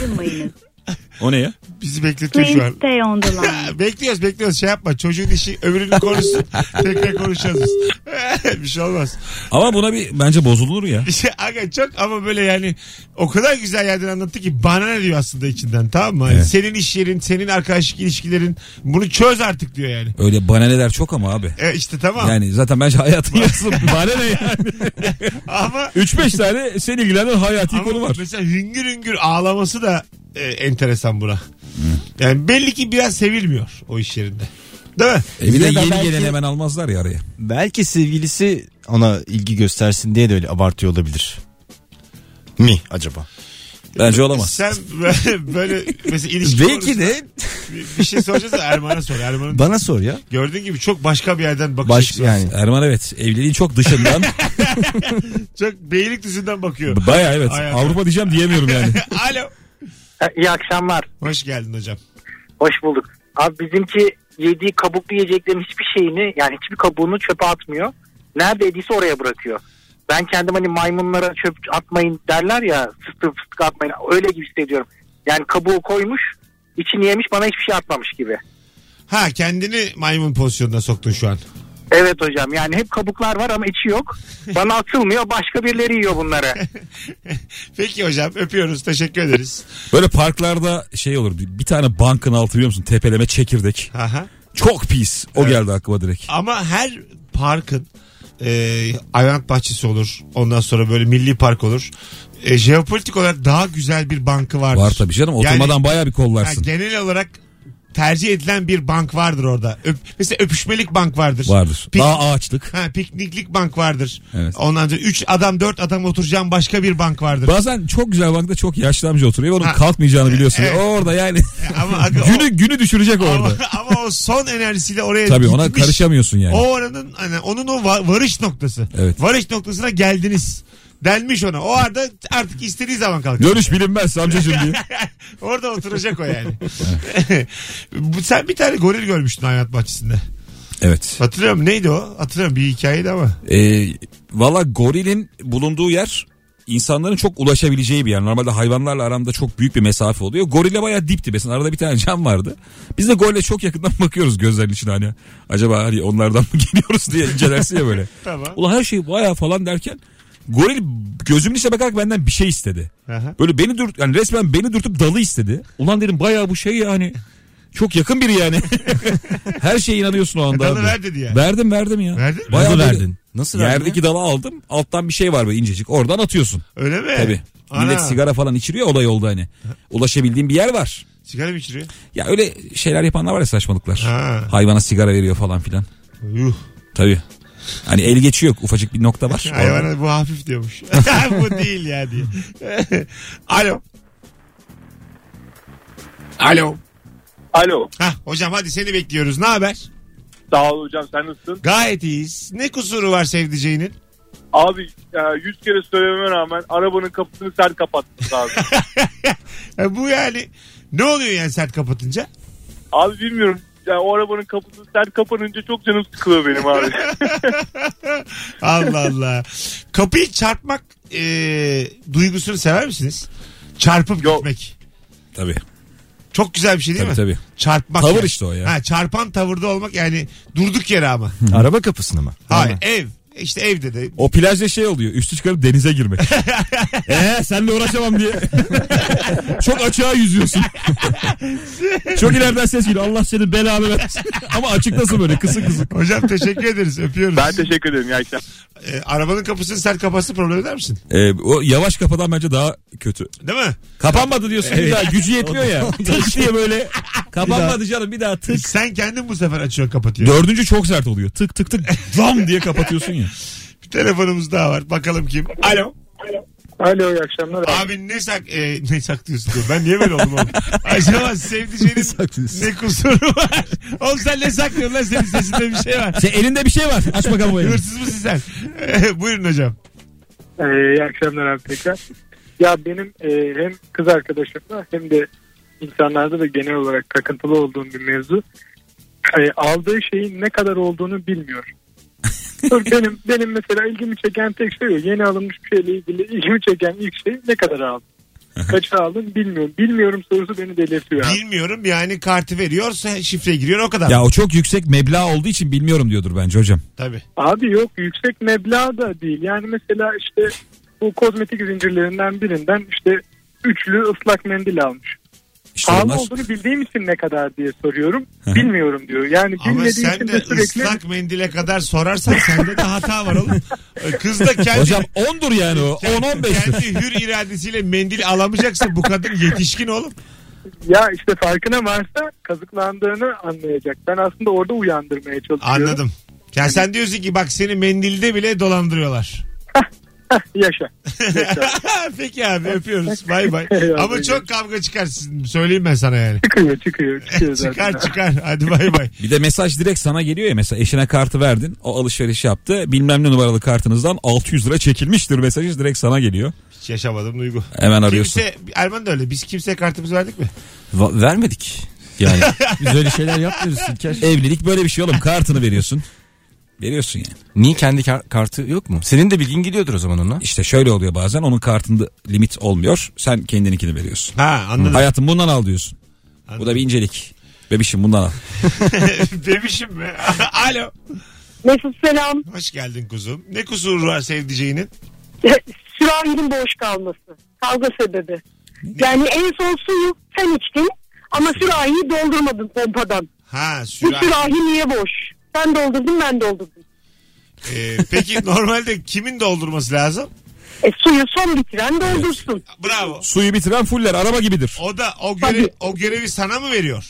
O ne ya?
Bizi bekletiyor şu
Please
an.
stay on the line.
Bekliyoruz bekliyoruz şey yapma çocuğun işi öbürünü konuşsun tekrar konuşacağız biz. bir şey olmaz.
Ama buna bir bence bozulur ya.
İşte aga çok ama böyle yani o kadar güzel yerden anlattı ki bana ne diyor aslında içinden tamam mı? Hani
Evet.
Senin iş yerin senin arkadaşlık ilişkilerin bunu çöz artık diyor yani.
Öyle bahaneler çok ama abi.
E işte tamam
Yani zaten bence hayatım yarısı bahane ne yani?
ama,
3-5 tane seni ilgilenen hayati konu
ama
var.
mesela hüngür hüngür ağlaması da e, enteresan buna. Yani belli ki biraz sevilmiyor o iş yerinde. Değil mi?
E bir de
Ya da
yeni
belki-
gelen hemen almazlar ya araya.
belki sevgilisi ona ilgi göstersin diye de öyle abartıyor olabilir. Mi acaba?
Bence olamaz.
Sen böyle, böyle mesela ilişki
Belki
konusunda
de
bir, bir şey soracağız da Erman'a sor. Erman'ın
bana sor ya. şey
gördüğün gibi çok başka bir yerden bakış
Baş
açısı var.
yani.
Erman evet evliliğin çok dışından
Çok beylik düzünden bakıyor.
baya evet
Hayatım.
Avrupa diyeceğim diyemiyorum yani.
Alo.
İyi akşamlar.
Hoş geldin hocam.
Hoş bulduk. Abi bizimki yediği kabuklu yiyeceklerin hiçbir şeyini yani hiçbir kabuğunu çöpe atmıyor. Nerede yediyse oraya bırakıyor. Ben kendim hani maymunlara çöp atmayın derler ya fıstık fıstık atmayın öyle gibi hissediyorum. Yani kabuğu koymuş içini yemiş bana hiçbir şey atmamış gibi.
Ha kendini maymun pozisyonuna soktun şu an.
Evet hocam yani hep kabuklar var ama içi yok. Bana atılmıyor başka birileri yiyor bunları.
Peki hocam öpüyoruz teşekkür ederiz.
Böyle parklarda şey olur bir tane bankın altı biliyor musun tepeleme çekirdek.
Aha.
Çok pis o geldi aklıma direkt.
Ama her parkın e, hayvanat bahçesi olur. Ondan sonra böyle milli park olur. E, jeopolitik olarak daha güzel bir bankı vardır.
Var tabii canım
Yani-
oturmadan baya bir
Ha,
kollarsın.
genel olarak tercih edilen bir bank vardır orada. Öp- mesela öpüşmelik bank vardır.
Vardır.
Pik-
Daha ağaçlık.
Ha, pikniklik bank vardır.
Evet.
Ondan sonra 3 adam 4 adam oturacağım başka bir bank vardır.
Bazen çok güzel bankta çok yaşlı amca oturuyor. Onun
Ha.
kalkmayacağını biliyorsun.
Evet.
O Orada yani
ama aga, o-
günü günü düşürecek
ama,
orada.
ama o son enerjisiyle oraya
Tabii ona
gitmiş.
karışamıyorsun yani.
O oranın hani onun o va- varış noktası.
Evet.
Varış noktasına geldiniz. Denmiş ona. O arada artık istediği zaman kalkacak.
Dönüş bilinmez amcacığım diye.
Orada oturacak o yani. Bu- Sen bir tane goril görmüştün hayvanat bahçesinde.
Evet.
Hatırlıyor musun? Neydi o? Hatırlıyorum bir hikayeydi ama.
Ee, Valla gorilin bulunduğu yer insanların çok ulaşabileceği bir yer. Normalde hayvanlarla aramda çok büyük bir mesafe oluyor. Gorille bayağı dip dibesin. Arada bir tane cam vardı. Biz de gorile çok yakından bakıyoruz gözlerin içine hani. Acaba hani onlardan mı geliyoruz diye incelersin ya böyle.
Tamam.
Ulan her şey bayağı falan derken goril gözümün içine bakarak benden bir şey istedi.
Aha.
Böyle beni dürt yani resmen beni dürtüp dalı istedi. Ulan dedim bayağı bu şey yani. Çok yakın biri yani. her şeye inanıyorsun o anda.
Dalı
abi.
ver dedi yani.
Verdim verdim ya.
Verdin mi?
Bayağı
Nasıl
böyle-
verdin? Nasıl verdin?
Yerdeki dalı aldım. Alttan bir şey var böyle incecik. Oradan atıyorsun.
Öyle mi?
Tabii.
Ana,
Millet sigara falan içiriyor olay oldu hani. Ulaşabildiğim bir yer var.
Sigara mı içiriyor?
Ya öyle şeyler yapanlar var ya saçmalıklar.
Ha.
Hayvana sigara veriyor falan filan.
Yuh.
Tabii. Hani el geçi yok ufacık bir nokta var.
Hayvana bu hafif diyormuş. bu değil ya diye. Alo. Alo.
Alo.
Hah, hocam hadi seni bekliyoruz. Ne haber?
Sağ ol hocam sen nasılsın?
Gayet iyiyiz. Ne kusuru var sevdiceğinin?
Abi e, yüz kere söylememe rağmen arabanın kapısını sen kapattın abi.
E, bu yani ne oluyor yani sert kapatınca?
abi bilmiyorum. Yani o arabanın kapısını sen kapanınca çok canım sıkılıyor benim abi.
Allah Allah. Kapıyı çarpmak e, duygusunu sever misiniz? Çarpıp
Yok.
gitmek.
Tabii.
Çok güzel bir şey değil
Tabii
mi?
tabii.
Çarpmak.
Tavır
yani.
işte o ya.
Ha, çarpan tavırda olmak yani durduk yere ama.
Araba kapısını mı?
Hayır ev. İşte evde de.
O plajda şey oluyor. Üstü çıkarıp denize girmek. Eee senle uğraşamam diye. Çok açığa yüzüyorsun. Çok ileriden ses geliyor. Allah senin belanı versin. Ama açıktasın böyle kısık kısık.
Hocam teşekkür ederiz. Öpüyoruz.
ben teşekkür ederim ya işte.
E, arabanın kapısını sert kapatsın problem eder misin?
Ee, o yavaş kapatan bence daha kötü.
Değil mi?
Kapanmadı diyorsun bir daha. Gücü yetmiyor ya. Tık diye böyle. Kapanmadı canım bir daha tık.
Sen kendin bu sefer açıyor kapatıyor.
Dördüncü çok sert oluyor. Tık tık tık zam diye kapatıyorsun ya.
Bir telefonumuz daha var. Bakalım kim? Alo.
Alo iyi akşamlar.
Abi ne sak e, ne saklıyorsun diyor. Ben niye böyle oldum oğlum? Acaba sevdiceğinin
saklıyorsun?
ne kusuru var? Oğlum sen ne saklıyorsun lan senin sesinde bir şey var.
Sen elinde bir şey var. Aç bakalım o elini.
Hırsız mısın sen? Buyurun hocam.
Ee, iyi akşamlar abi tekrar. Ya benim e, hem kız arkadaşımla hem de insanlarda da genel olarak takıntılı olduğum bir mevzu. E, aldığı şeyin ne kadar olduğunu bilmiyor. Dur, benim benim mesela ilgimi çeken tek şey o. Yeni alınmış bir şeyle ilgili ilgimi çeken ilk şey ne kadar aldım? Kaça aldım bilmiyorum. Bilmiyorum sorusu beni delirtiyor. abi.
Bilmiyorum yani kartı veriyorsa şifre giriyor o kadar.
Ya o çok yüksek meblağ olduğu için bilmiyorum diyordur bence hocam.
Tabii.
Abi yok yüksek meblağ da değil. Yani mesela işte bu kozmetik zincirlerinden birinden işte üçlü ıslak mendil almış.
İşte
şey
Pahalı
onlar-
olduğunu bildiğim için ne kadar diye soruyorum.
hı.
Bilmiyorum diyor. Yani
Ama
bilmediği
sen
için
de
de sürekli
ıslak mendile kadar sorarsan sende de hata var oğlum. Kız da kendi
Hocam 10'dur yani o. 10-15'tir.
Kendi hür iradesiyle mendil alamayacaksa bu kadın yetişkin oğlum.
ya işte farkına varsa kazıklandığını anlayacak. Ben aslında orada uyandırmaya çalışıyorum.
Anladım. Ya sen diyorsun ki bak seni mendilde bile dolandırıyorlar.
Yaşa.
Peki abi öpüyoruz. Bay bay.
Eyvallah.
Ama çok kavga çıkar sizin. Söyleyeyim ben sana yani.
Çıkıyor çıkıyor. çıkıyor zaten.
çıkar çıkar. Hadi bay bay.
Bir de mesaj direkt sana geliyor ya mesela eşine kartı verdin. O alışveriş yaptı. Bilmem ne numaralı kartınızdan 600 lira çekilmiştir mesajı direkt sana geliyor.
Hiç yaşamadım duygu.
Hemen arıyorsun.
Kimse, Erman da öyle. Biz kimseye kartımızı verdik mi?
Va- vermedik.
Yani
Biz öyle şeyler yapmıyoruz İlker.
evlilik böyle bir şey oğlum. Kartını veriyorsun. Veriyorsun yani.
Niye kendi kar- kartı yok mu? Senin de bilgin gidiyordur o zaman onunla.
İşte şöyle oluyor bazen onun kartında limit olmuyor. Sen kendininkini veriyorsun.
Ha anladım.
Hayatım bundan al diyorsun. Bu da bir incelik. Bebişim bundan al.
Demişim mi? Alo.
Mesut selam.
Hoş geldin kuzum. Ne kusuru var sevdiceğinin?
Sürahinin boş kalması. Kavga sebebi. Yani en son suyu sen içtin ama sürahiyi doldurmadın pompadan.
Ha
Bu
sürahi.
sürahi niye boş? Sen doldurdun ben doldurdum.
Ee, peki normalde kimin doldurması lazım?
E, suyu son bitiren doldursun.
Bravo.
Suyu bitiren fuller araba gibidir.
O da o görev,
Tabii.
o görevi sana mı veriyor?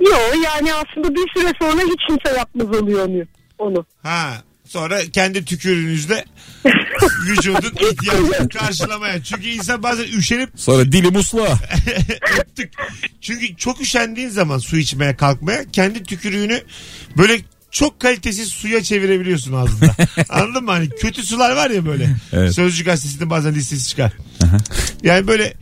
Yo yani aslında bir süre sonra hiç kimse yapmaz oluyor onu. onu.
Ha. Sonra kendi tükürüğünüzle vücudun ihtiyacını karşılamaya. Çünkü insan bazen üşenip
Sonra dili musluğa.
öptük. Çünkü çok üşendiğin zaman su içmeye kalkmaya kendi tükürüğünü böyle çok kalitesiz suya çevirebiliyorsun ağzında. Anladın mı? Hani kötü sular var ya böyle.
Evet.
Sözcü gazetesinde bazen listesi çıkar. yani böyle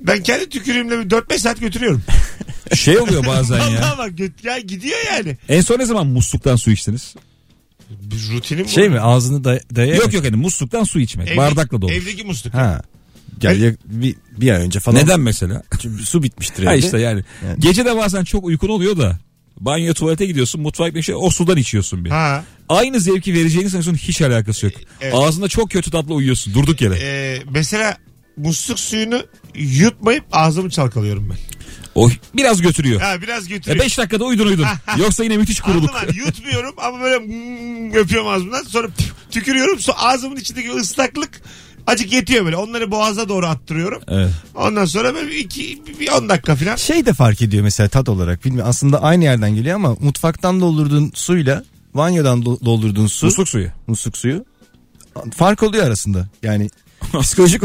ben kendi tükürüğümle bir 4-5 saat götürüyorum.
Şey oluyor bazen ya.
Vallahi bak göt- ya gidiyor yani.
En son ne zaman musluktan su içtiniz?
Bir rutinim bu.
Şey mi ağzını day- dayayarak?
Yok yok hani musluktan su içmek.
Evde-
Bardakla dolu.
Evdeki musluk.
Ha. Ya, ya- bir, bir ay önce falan.
Neden mesela?
Çünkü su bitmiştir
Ha
evde.
işte yani.
Evet.
Gece de bazen çok uykun oluyor da. Banyo tuvalete gidiyorsun mutfak bir şey o sudan içiyorsun bir.
Ha.
Aynı zevki vereceğini sanıyorsun hiç alakası yok.
Evet.
Ağzında çok kötü tatlı uyuyorsun durduk yere.
Ee, mesela musluk suyunu yutmayıp ağzımı çalkalıyorum ben.
O biraz götürüyor.
Ha biraz götürüyor.
E 5 dakikada uydun uydun. Yoksa yine müthiş kuruluk.
Anladın mı? Yutmuyorum ama böyle mm, öpüyorum ağzımdan. Sonra püf, tükürüyorum. So- ağzımın içindeki ıslaklık acık yetiyor böyle. Onları boğaza doğru attırıyorum.
Evet.
Ondan sonra böyle bir iki, bir 10 dakika falan.
Şey de fark ediyor mesela tat olarak. Bilmiyorum aslında aynı yerden geliyor ama mutfaktan doldurduğun suyla Vanyodan do- doldurduğun su, musluk.
Musluk suyu.
suyu fark oluyor arasında. Yani psikolojik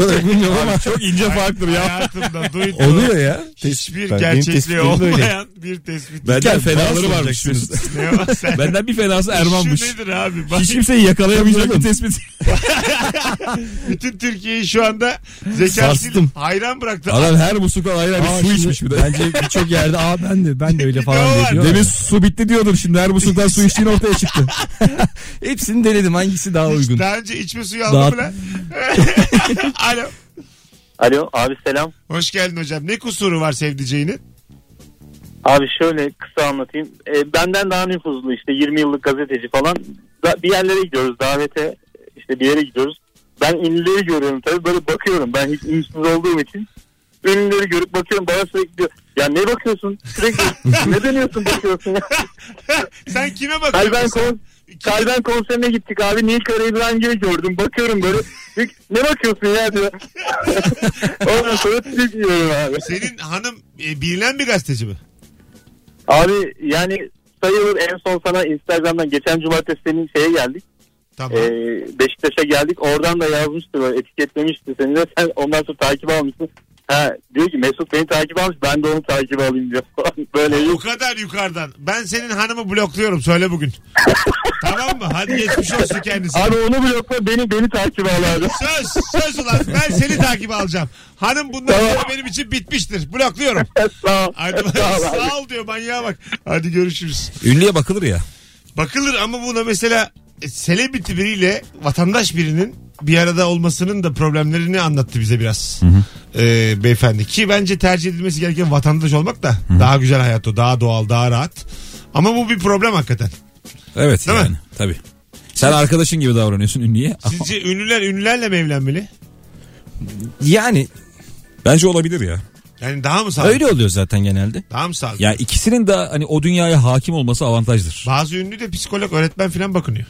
olarak bilmiyorum ama
Çok ince farktır
Hayatımda duydum.
oluyor ya.
Hiçbir
Ben- benim
gerçekliği
tespitlerim böyle.
olmayan bir tespit.
Benden
Benden
fenaları
fenası
varmış.
olacaksınız.
Ne o sen?
Benden bir fenası Erman'mış.
Şu nedir abi? Bak,
Hiç kimseyi yakalayamayacak bir tespit.
bütün Türkiye'yi şu anda zekasıyla
Sarstım.
hayran bıraktı.
Adam her musluktan ayrı bir
Aa,
su
şimdi
içmiş bir de.
Bence birçok yerde aa ben de ben de öyle
Bir
falan
de o
diye
var.
diyor.
Demin su bitti diyordun şimdi her musluktan su içtiğin ortaya çıktı.
Hepsini denedim hangisi daha
Hiç
uygun.
Daha önce içme suyu aldım mı
Daha-
lan? Alo.
Alo abi selam.
Hoş geldin hocam. Ne kusuru var sevdiceğinin?
Abi şöyle kısa anlatayım. E, benden daha nüfuzlu işte 20 yıllık gazeteci falan. Da, bir yerlere gidiyoruz davete işte bir yere gidiyoruz. Ben ünlüleri görüyorum tabii böyle bakıyorum. Ben hiç ünsüz olduğum için ünlüleri görüp bakıyorum bana sürekli diyor. Ya ne bakıyorsun? Sürekli ne dönüyorsun bakıyorsun ya?
Sen kime bakıyorsun?
Kalben,
sen?
kon Kalben konserine gittik abi. Nil Kara İbrahimgil'i gördüm. Bakıyorum böyle. Diyor ki, ne bakıyorsun ya diyor. Ondan sonra trik yiyorum abi.
Senin hanım e, bilinen bir gazeteci mi?
Abi yani sayılır en son sana Instagram'dan geçen cumartesi senin şeye geldik.
Tamam.
Ee, Beşiktaş'a geldik. Oradan da yazmıştı böyle etiketlemişti seni de. Sen ondan sonra takip almışsın. Ha, diyor ki Mesut beni takip almış ben de onu takip alayım diyor. böyle
O kadar yukarıdan. Ben senin hanımı blokluyorum söyle bugün. tamam mı? Hadi geçmiş olsun kendisine.
Abi onu blokla beni beni takip al abi.
Söz, söz ulan ben seni takip alacağım. Hanım bundan sonra benim için bitmiştir. Blokluyorum.
Sağ ol.
Hadi bak-
Sağ ol abi.
sağ ol diyor manyağa bak. Hadi görüşürüz.
Ünlüye bakılır ya.
Bakılır ama buna mesela e, celebrity biriyle vatandaş birinin bir arada olmasının da problemlerini anlattı bize biraz. Ee, beyefendi ki bence tercih edilmesi gereken vatandaş olmak da daha güzel hayat o daha doğal daha rahat. Ama bu bir problem hakikaten.
Evet
Değil mi?
yani tabii. Sen arkadaşın gibi davranıyorsun ünlüye.
Sizce ünlüler ünlülerle mi evlenmeli?
Yani
Bence olabilir ya.
Yani daha mı sağlıklı?
öyle oluyor zaten genelde.
Daha mı sağlıklı?
Ya ikisinin de hani o dünyaya hakim olması avantajdır.
Bazı ünlü de psikolog öğretmen falan bakınıyor.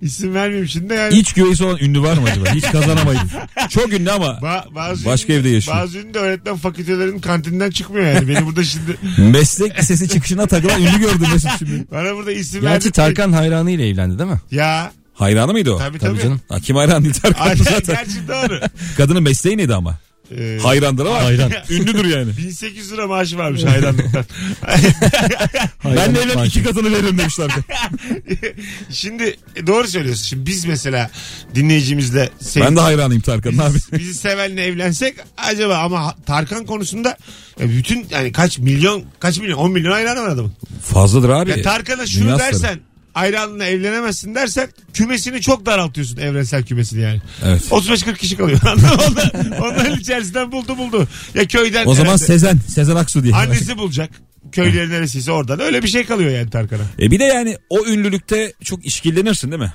İsim vermeyeyim şimdi de yani.
İç güveysi olan ünlü var mı acaba? Hiç kazanamayız. Çok ünlü ama
Ba- bazı
Başka
ünlü-
evde yaşıyor.
Bazı ünlü de öğretmen fakültelerinin kantinden çıkmıyor yani. Beni burada şimdi
meslek lisesi çıkışına takılan ünlü gördüm Mesut şimdi.
Bana burada isim
Gerçi
verdi.
Tarkan hayranıyla evlendi değil mi?
Ya
Hayranı mıydı o?
tabii tabii.
Tabii canım.
Ha, kim hayran değil
Ay,
Tarkan zaten.
gerçi doğru.
Kadının mesleği neydi ama?
Ee,
Hayrandır ama.
Hayran.
Ünlüdür yani.
1800 lira maaşı varmış hayranlıktan.
ben de
Hayran.
evlen iki katını veririm demişler.
Şey- Şimdi e, doğru söylüyorsun. Şimdi biz mesela dinleyicimizle sev-
ben de hayranıyım Tarkan'ın abi.
bizi, bizi sevenle evlensek acaba ama ha- Tarkan konusunda e, bütün yani kaç milyon kaç milyon 10 milyon hayranı var adamın.
Fazladır abi.
Ya Tarkan'a şunu
Dünya starı.
dersen hayranla evlenemezsin dersen kümesini çok daraltıyorsun evrensel kümesini yani.
Evet.
35-40 kişi kalıyor. Onlar, onların içerisinden buldu buldu. Ya köyden
O zaman
herhalde.
Sezen, Sezen Aksu diye.
Annesi bulacak. Köyleri neresiyse oradan. Öyle bir şey kalıyor yani Tarkan'a.
E bir de yani o ünlülükte çok işkillenirsin değil mi?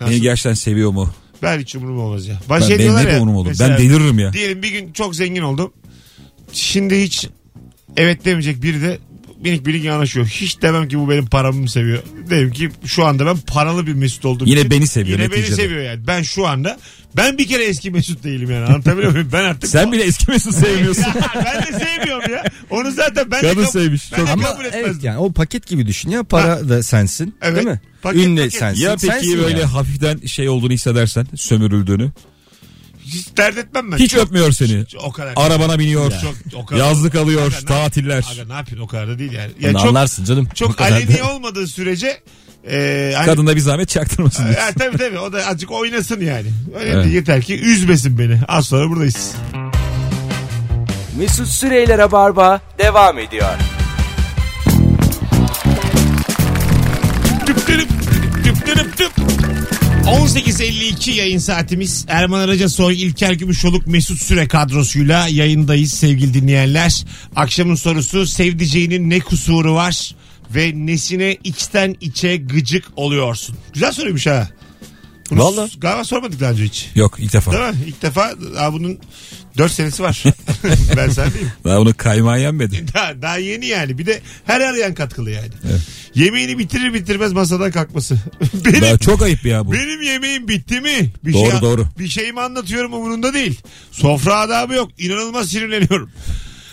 Beni
Nasıl?
gerçekten seviyor mu?
Ben hiç umurum olmaz ya. Baş
Ben, benim
ediyorlar
ne
şey ya,
umurum olur?
mesela
Ben deliririm ya.
Diyelim bir gün çok zengin oldum. Şimdi hiç evet demeyecek biri de minik birik yanaşıyor. Hiç demem ki bu benim paramı mı seviyor. Derim ki şu anda ben paralı bir Mesut oldum.
Yine beni seviyor
Yine beni
neticede.
seviyor yani. Ben şu anda ben bir kere eski Mesut değilim yani. Anlatabiliyor muyum? Ben artık
Sen bile eski Mesut sevmiyorsun.
Ya ben de sevmiyorum ya. Onu zaten ben de
Kadın
kab-
sevmiş.
Ben de
Çok
kabul
Ama
etmezdim.
evet yani o paket gibi düşün ya para da sensin
Evet.
değil mi?
Paket,
Ünle
paket.
sensin.
ya peki
sensin
böyle
yani.
hafiften şey olduğunu hissedersen, sömürüldüğünü.
Hiç dert etmem ben.
Hiç öpmüyor seni.
O kadar.
Arabana biniyor.
Çok, o kadar.
Yazlık alıyor,
Aga, ne-
tatiller.
Aga ne yapıyorsun o kadar da değil yani. Ya
Onu
çok
anlarsın canım. O
çok
kadar da-
aleni olmadığı sürece e, hani,
Kadında bir zahmet çaktırmasın diye.
Ha, tabii tabii o da azıcık oynasın yani. Öyle
Evet.
değil, yeter ki üzmesin beni. Az sonra buradayız.
Mesut Süreyler'e barba devam ediyor.
Tüp tüp tüp tüp tüp. 18.52 yayın saatimiz. Erman Araca Soy, İlker Gümüşoluk, Mesut Süre kadrosuyla yayındayız sevgili dinleyenler. Akşamın sorusu sevdiceğinin ne kusuru var ve nesine içten içe gıcık oluyorsun? Güzel soruymuş ha. Bunu
Vallahi.
s- Galiba sormadık daha önce hiç.
Yok ilk defa.
Değil mi? İlk defa daha bunun 4 senesi var. ben sen değilim.
Daha bunu kaymağı yenmedi.
Daha, daha yeni yani. Bir de her arayan katkılı yani. Yemeğini bitirir bitirmez masadan kalkması. benim,
Daha çok ayıp ya bu.
benim yemeğim bitti mi? Bir
Doğru,
şey,
doğru.
Bir şeyimi anlatıyorum umurunda değil. Sofra adabı yok. İnanılmaz sinirleniyorum.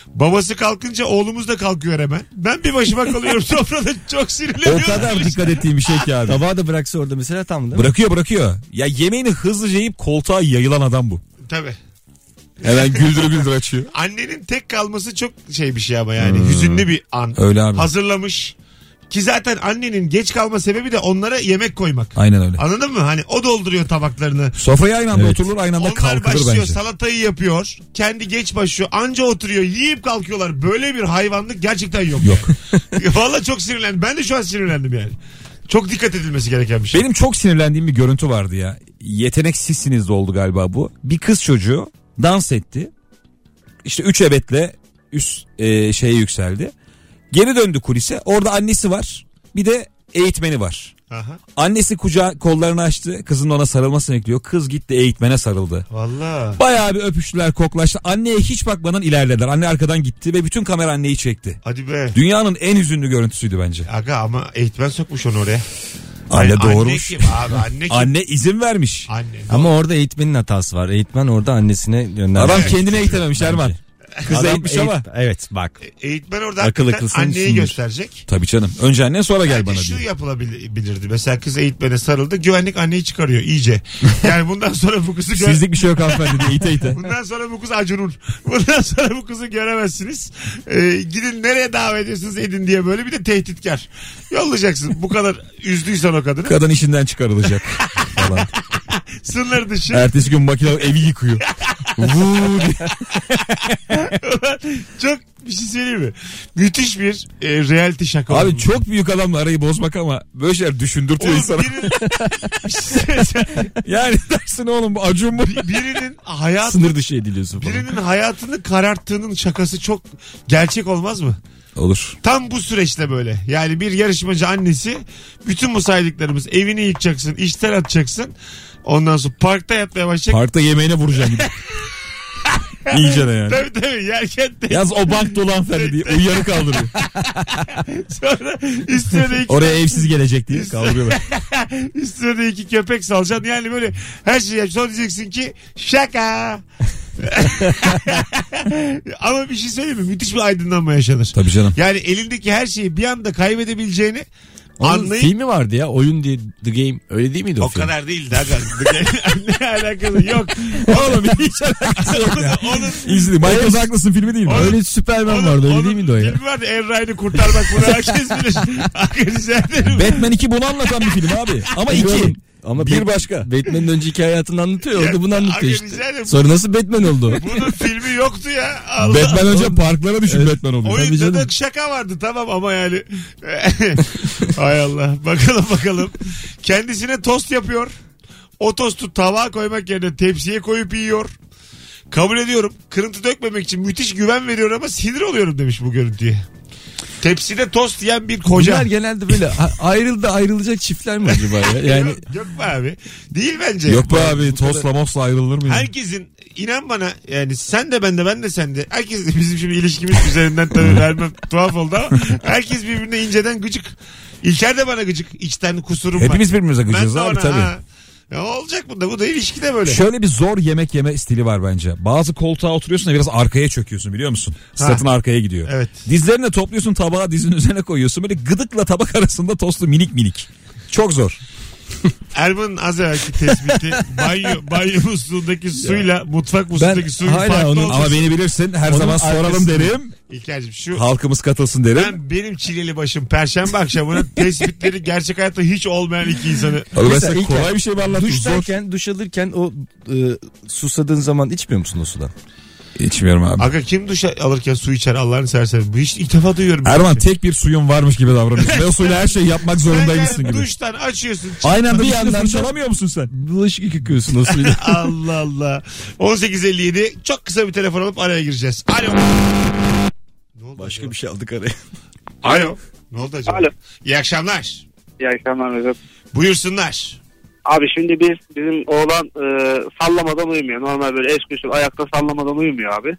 Babası kalkınca oğlumuz da kalkıyor hemen. Ben bir başıma kalıyorum sofrada çok sinirleniyorum.
O kadar dikkat ettiğim bir şey ki abi.
Tabağı da bıraksa orada mesela tam değil mi?
Bırakıyor bırakıyor. Ya yemeğini hızlıca yiyip koltuğa yayılan adam bu.
Tabii.
Hemen güldürü güldür açıyor.
Annenin tek kalması çok şey bir şey ama yani hüzünlü bir an.
Hmm. Öyle abi.
Hazırlamış. Ki zaten annenin geç kalma sebebi de onlara yemek koymak.
Aynen öyle.
Anladın mı? Hani o dolduruyor tabaklarını.
Sofraya aynı anda
Evet.
oturulur aynı anda
Onlar
kalkılır
başlıyor
bence.
salatayı yapıyor. Kendi geç başlıyor. Anca oturuyor. Yiyip kalkıyorlar. Böyle bir hayvanlık gerçekten yok.
Yok.
Yani. Valla çok sinirlendim. Ben de şu an sinirlendim yani. Çok dikkat edilmesi gereken bir şey.
Benim çok sinirlendiğim bir görüntü vardı ya. Yeteneksizsiniz de oldu galiba bu. Bir kız çocuğu dans etti. İşte üç ebetle üst e, şeye yükseldi. Geri döndü kulise. Orada annesi var. Bir de eğitmeni var.
Aha.
Annesi kucağı kollarını açtı. Kızın ona sarılmasını bekliyor. Kız gitti eğitmene sarıldı.
Valla.
Bayağı bir öpüştüler koklaştı. Anneye hiç bakmadan ilerlediler. Anne arkadan gitti ve bütün kamera anneyi çekti.
Hadi be.
Dünyanın en hüzünlü görüntüsüydü bence.
Aga ama eğitmen sokmuş onu oraya.
Anne
Yani
doğurmuş.
Anne kim abi? Anne kim?
Anne izin vermiş.
Anne.
Ama orada eğitmenin hatası var. Eğitmen orada annesine göndermiş.
Adam kendine eğitememiş Erman. Kız
Adam
eğitmiş
eğit-
ama.
Evet bak.
Eğitmen orada
Akıl
hakikaten
akılsın
anneyi
üstündür.
gösterecek.
Tabii canım. Önce annen sonra gel bana
Bence şu
diyor.
yapılabilirdi. Mesela kız eğitmene sarıldı. Güvenlik anneyi çıkarıyor iyice. Yani bundan sonra bu kızı gö-
Sizlik bir şey yok hanımefendi diye ite ite.
Bundan sonra bu kız acunur. Bundan sonra bu kızı göremezsiniz. Ee, gidin nereye davet ediyorsunuz edin diye böyle bir de tehditkar. Yollayacaksın. Bu kadar üzdüysen o kadını.
Kadın işinden çıkarılacak falan.
Sınır dışı.
Ertesi gün makine evi yıkıyor. Vuu diye.
Çok bir şey söyleyeyim mi? Müthiş bir e, reality şaka.
Abi
oldu.
çok büyük adamla arayı bozmak ama böyle şeyler düşündürtüyor
Oğlum
insana.
birinin, Bir şey söyleyeceğim.
Yani dersin oğlum bu acun mu?
birinin hayatı
Sınır dışı ediliyorsun falan.
Birinin hayatını kararttığının şakası çok gerçek olmaz mı?
Olur.
Tam bu süreçte böyle. Yani bir yarışmacı annesi bütün bu saydıklarımız evini yıkacaksın, işten atacaksın. Ondan sonra parkta yatmaya başlayacak.
Parkta yemeğine vuracağım. İyice de yani.
Tabii tabii yerken de
Yaz o bank dolan Ferdi diye uyarı kaldırıyor.
sonra üstüne de iki,
Oraya evsiz gelecek diye kaldırıyorlar.
üstüne de iki köpek salacaksın. Yani böyle her şeyi yap. Sonra diyeceksin ki şaka. Ama bir şey söyleyeyim mi? Müthiş bir aydınlanma yaşanır.
Tabii canım.
Yani elindeki her şeyi bir anda kaybedebileceğini
Onun
anlayıp
filmi vardı ya oyun diye The Game öyle değil miydi o,
O
film?
kadar değildi aga. ne alakası yok.
Oğlum hiç alakası yok ya.
Onun
İzledim. Michael Douglas'ın filmi değil mi?
Oğlum-
Öyle Superman vardı öyle değil miydi o ya?
Filmi vardı Erray'ını kurtarmak bunu herkes bilir. Arkadaşlar ederim.
Batman 2 bunu anlatan bir film abi. Ama
Biliyorum.
2.
Ama
Bir
Bat-
başka.
Batman'in önceki hayatını anlatıyor. Orada bunu
Abi
anlatıyor
rica
işte.
ederim.
Sonra nasıl Batman oldu?
Bunun filmi yoktu ya. Allah.
Batman önce parklara düşüp Batman oluyor.
Oyunda da şaka vardı tamam ama yani. Hay Allah. Bakalım bakalım. Kendisine tost yapıyor. O tostu tabağa koymak yerine tepsiye koyup yiyor. Kabul ediyorum. Kırıntı dökmemek için müthiş güven veriyor ama sinir oluyorum demiş bu görüntüye. Tepside tost yiyen bir koca.
Bunlar genelde böyle a- ayrıldı ayrılacak çiftler mi acaba ya? Yani
Yok, yok be abi. Değil bence.
Yok be abi tosla mosla ayrılır mı? ya?
Herkesin inan bana yani sen de ben de ben de sen de herkes bizim şimdi ilişkimiz üzerinden tabii vermem tuhaf oldu ama herkes birbirine inceden gıcık. İlker de bana gıcık. İçten kusurum var.
Hepimiz birbirimize
Ben
gıcığız
de
abi
ona,
tabii.
ha. Ya olacak bunda. Bu da ilişkide böyle.
Şöyle bir zor yemek yeme stili var bence. Bazı koltuğa oturuyorsun da biraz arkaya çöküyorsun biliyor musun? Sırtın arkaya gidiyor.
Evet.
Dizlerini topluyorsun tabağı dizin üzerine koyuyorsun. Böyle gıdıkla tabak arasında tostu minik minik. Çok zor.
Erman'ın az evvelki tespiti banyo, banyo musluğundaki suyla mutfak musluğundaki suyun
hala
farklı
onun-
onun,
Ama beni bilirsin her
Onun
zaman soralım
arkasında.
derim.
İlker'cim şu
Halkımız katılsın derim.
ben benim çileli başım perşembe akşamına tespitleri gerçek hayatta hiç olmayan iki insanı
Abi ben
Mesela
sana
ilk-
kolay bir şey mi anlattım? Zor.
Duştayken, duş alırken o e, susadığın zaman içmiyor musun o sudan?
İçmiyorum abi.
Aga kim duş alırken su içer Allah'ını seversen. Bu hiç ilk defa duyuyorum.
Erman tek bir suyun varmış gibi davranıyorsun. Ve o suyla her şeyi yapmak zorundaymışsın
Sen yani
gibi.
Duştan açıyorsun.
Aynı anda
Bir
bir
yandan da-
yandan fırçalamıyor musun sen?
bulaşık yıkıyorsun o suyla.
Allah Allah. 18.57 çok kısa bir telefon alıp araya gireceğiz. Alo. Ne oldu acaba?
Başka bir şey aldık araya.
Alo. Ne oldu acaba?
Alo.
İyi akşamlar.
İyi akşamlar Mesut.
Buyursunlar.
Abi şimdi biz bizim oğlan e, sallamadan uyumuyor. Normal böyle eski usul ayakta sallamadan uyumuyor abi.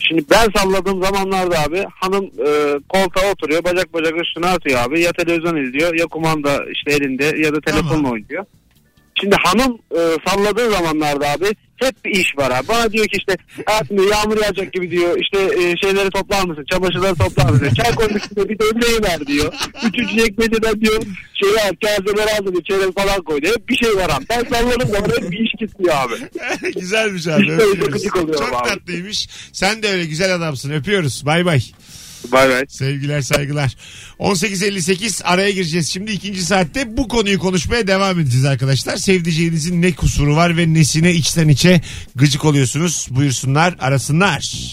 Şimdi ben salladığım zamanlarda abi hanım e, koltuğa oturuyor bacak bacak üstüne atıyor abi. Ya televizyon izliyor ya kumanda işte elinde ya da telefonla
Tamam.
oynuyor.
Şimdi hanım e, salladığı zamanlarda abi hep bir iş var abi. Bana diyor ki işte hayatım diyor, yağmur yağacak gibi diyor. İşte e, şeyleri toplar mısın? Çamaşırları toplar mısın? Çay koyduk diyor. Bir de önleyi ver diyor. Üçüncü ekmeğinden diyor. Şeyi al kazeleri al diyor. Çeyrek falan koy diyor. Hep bir şey var abi. Ben salladım da hep bir iş gitmiyor abi.
Güzelmiş abi.
İşte öyle
öpüyoruz.
gıcık oluyorum
Çok
abi.
tatlıymış. Sen de öyle güzel adamsın. Öpüyoruz. Bay bay.
Bay bay.
Sevgiler saygılar. 18.58 araya gireceğiz. Şimdi ikinci saatte bu konuyu konuşmaya devam edeceğiz arkadaşlar. Sevdiceğinizin ne kusuru var ve nesine içten içe gıcık oluyorsunuz. Buyursunlar arasınlar.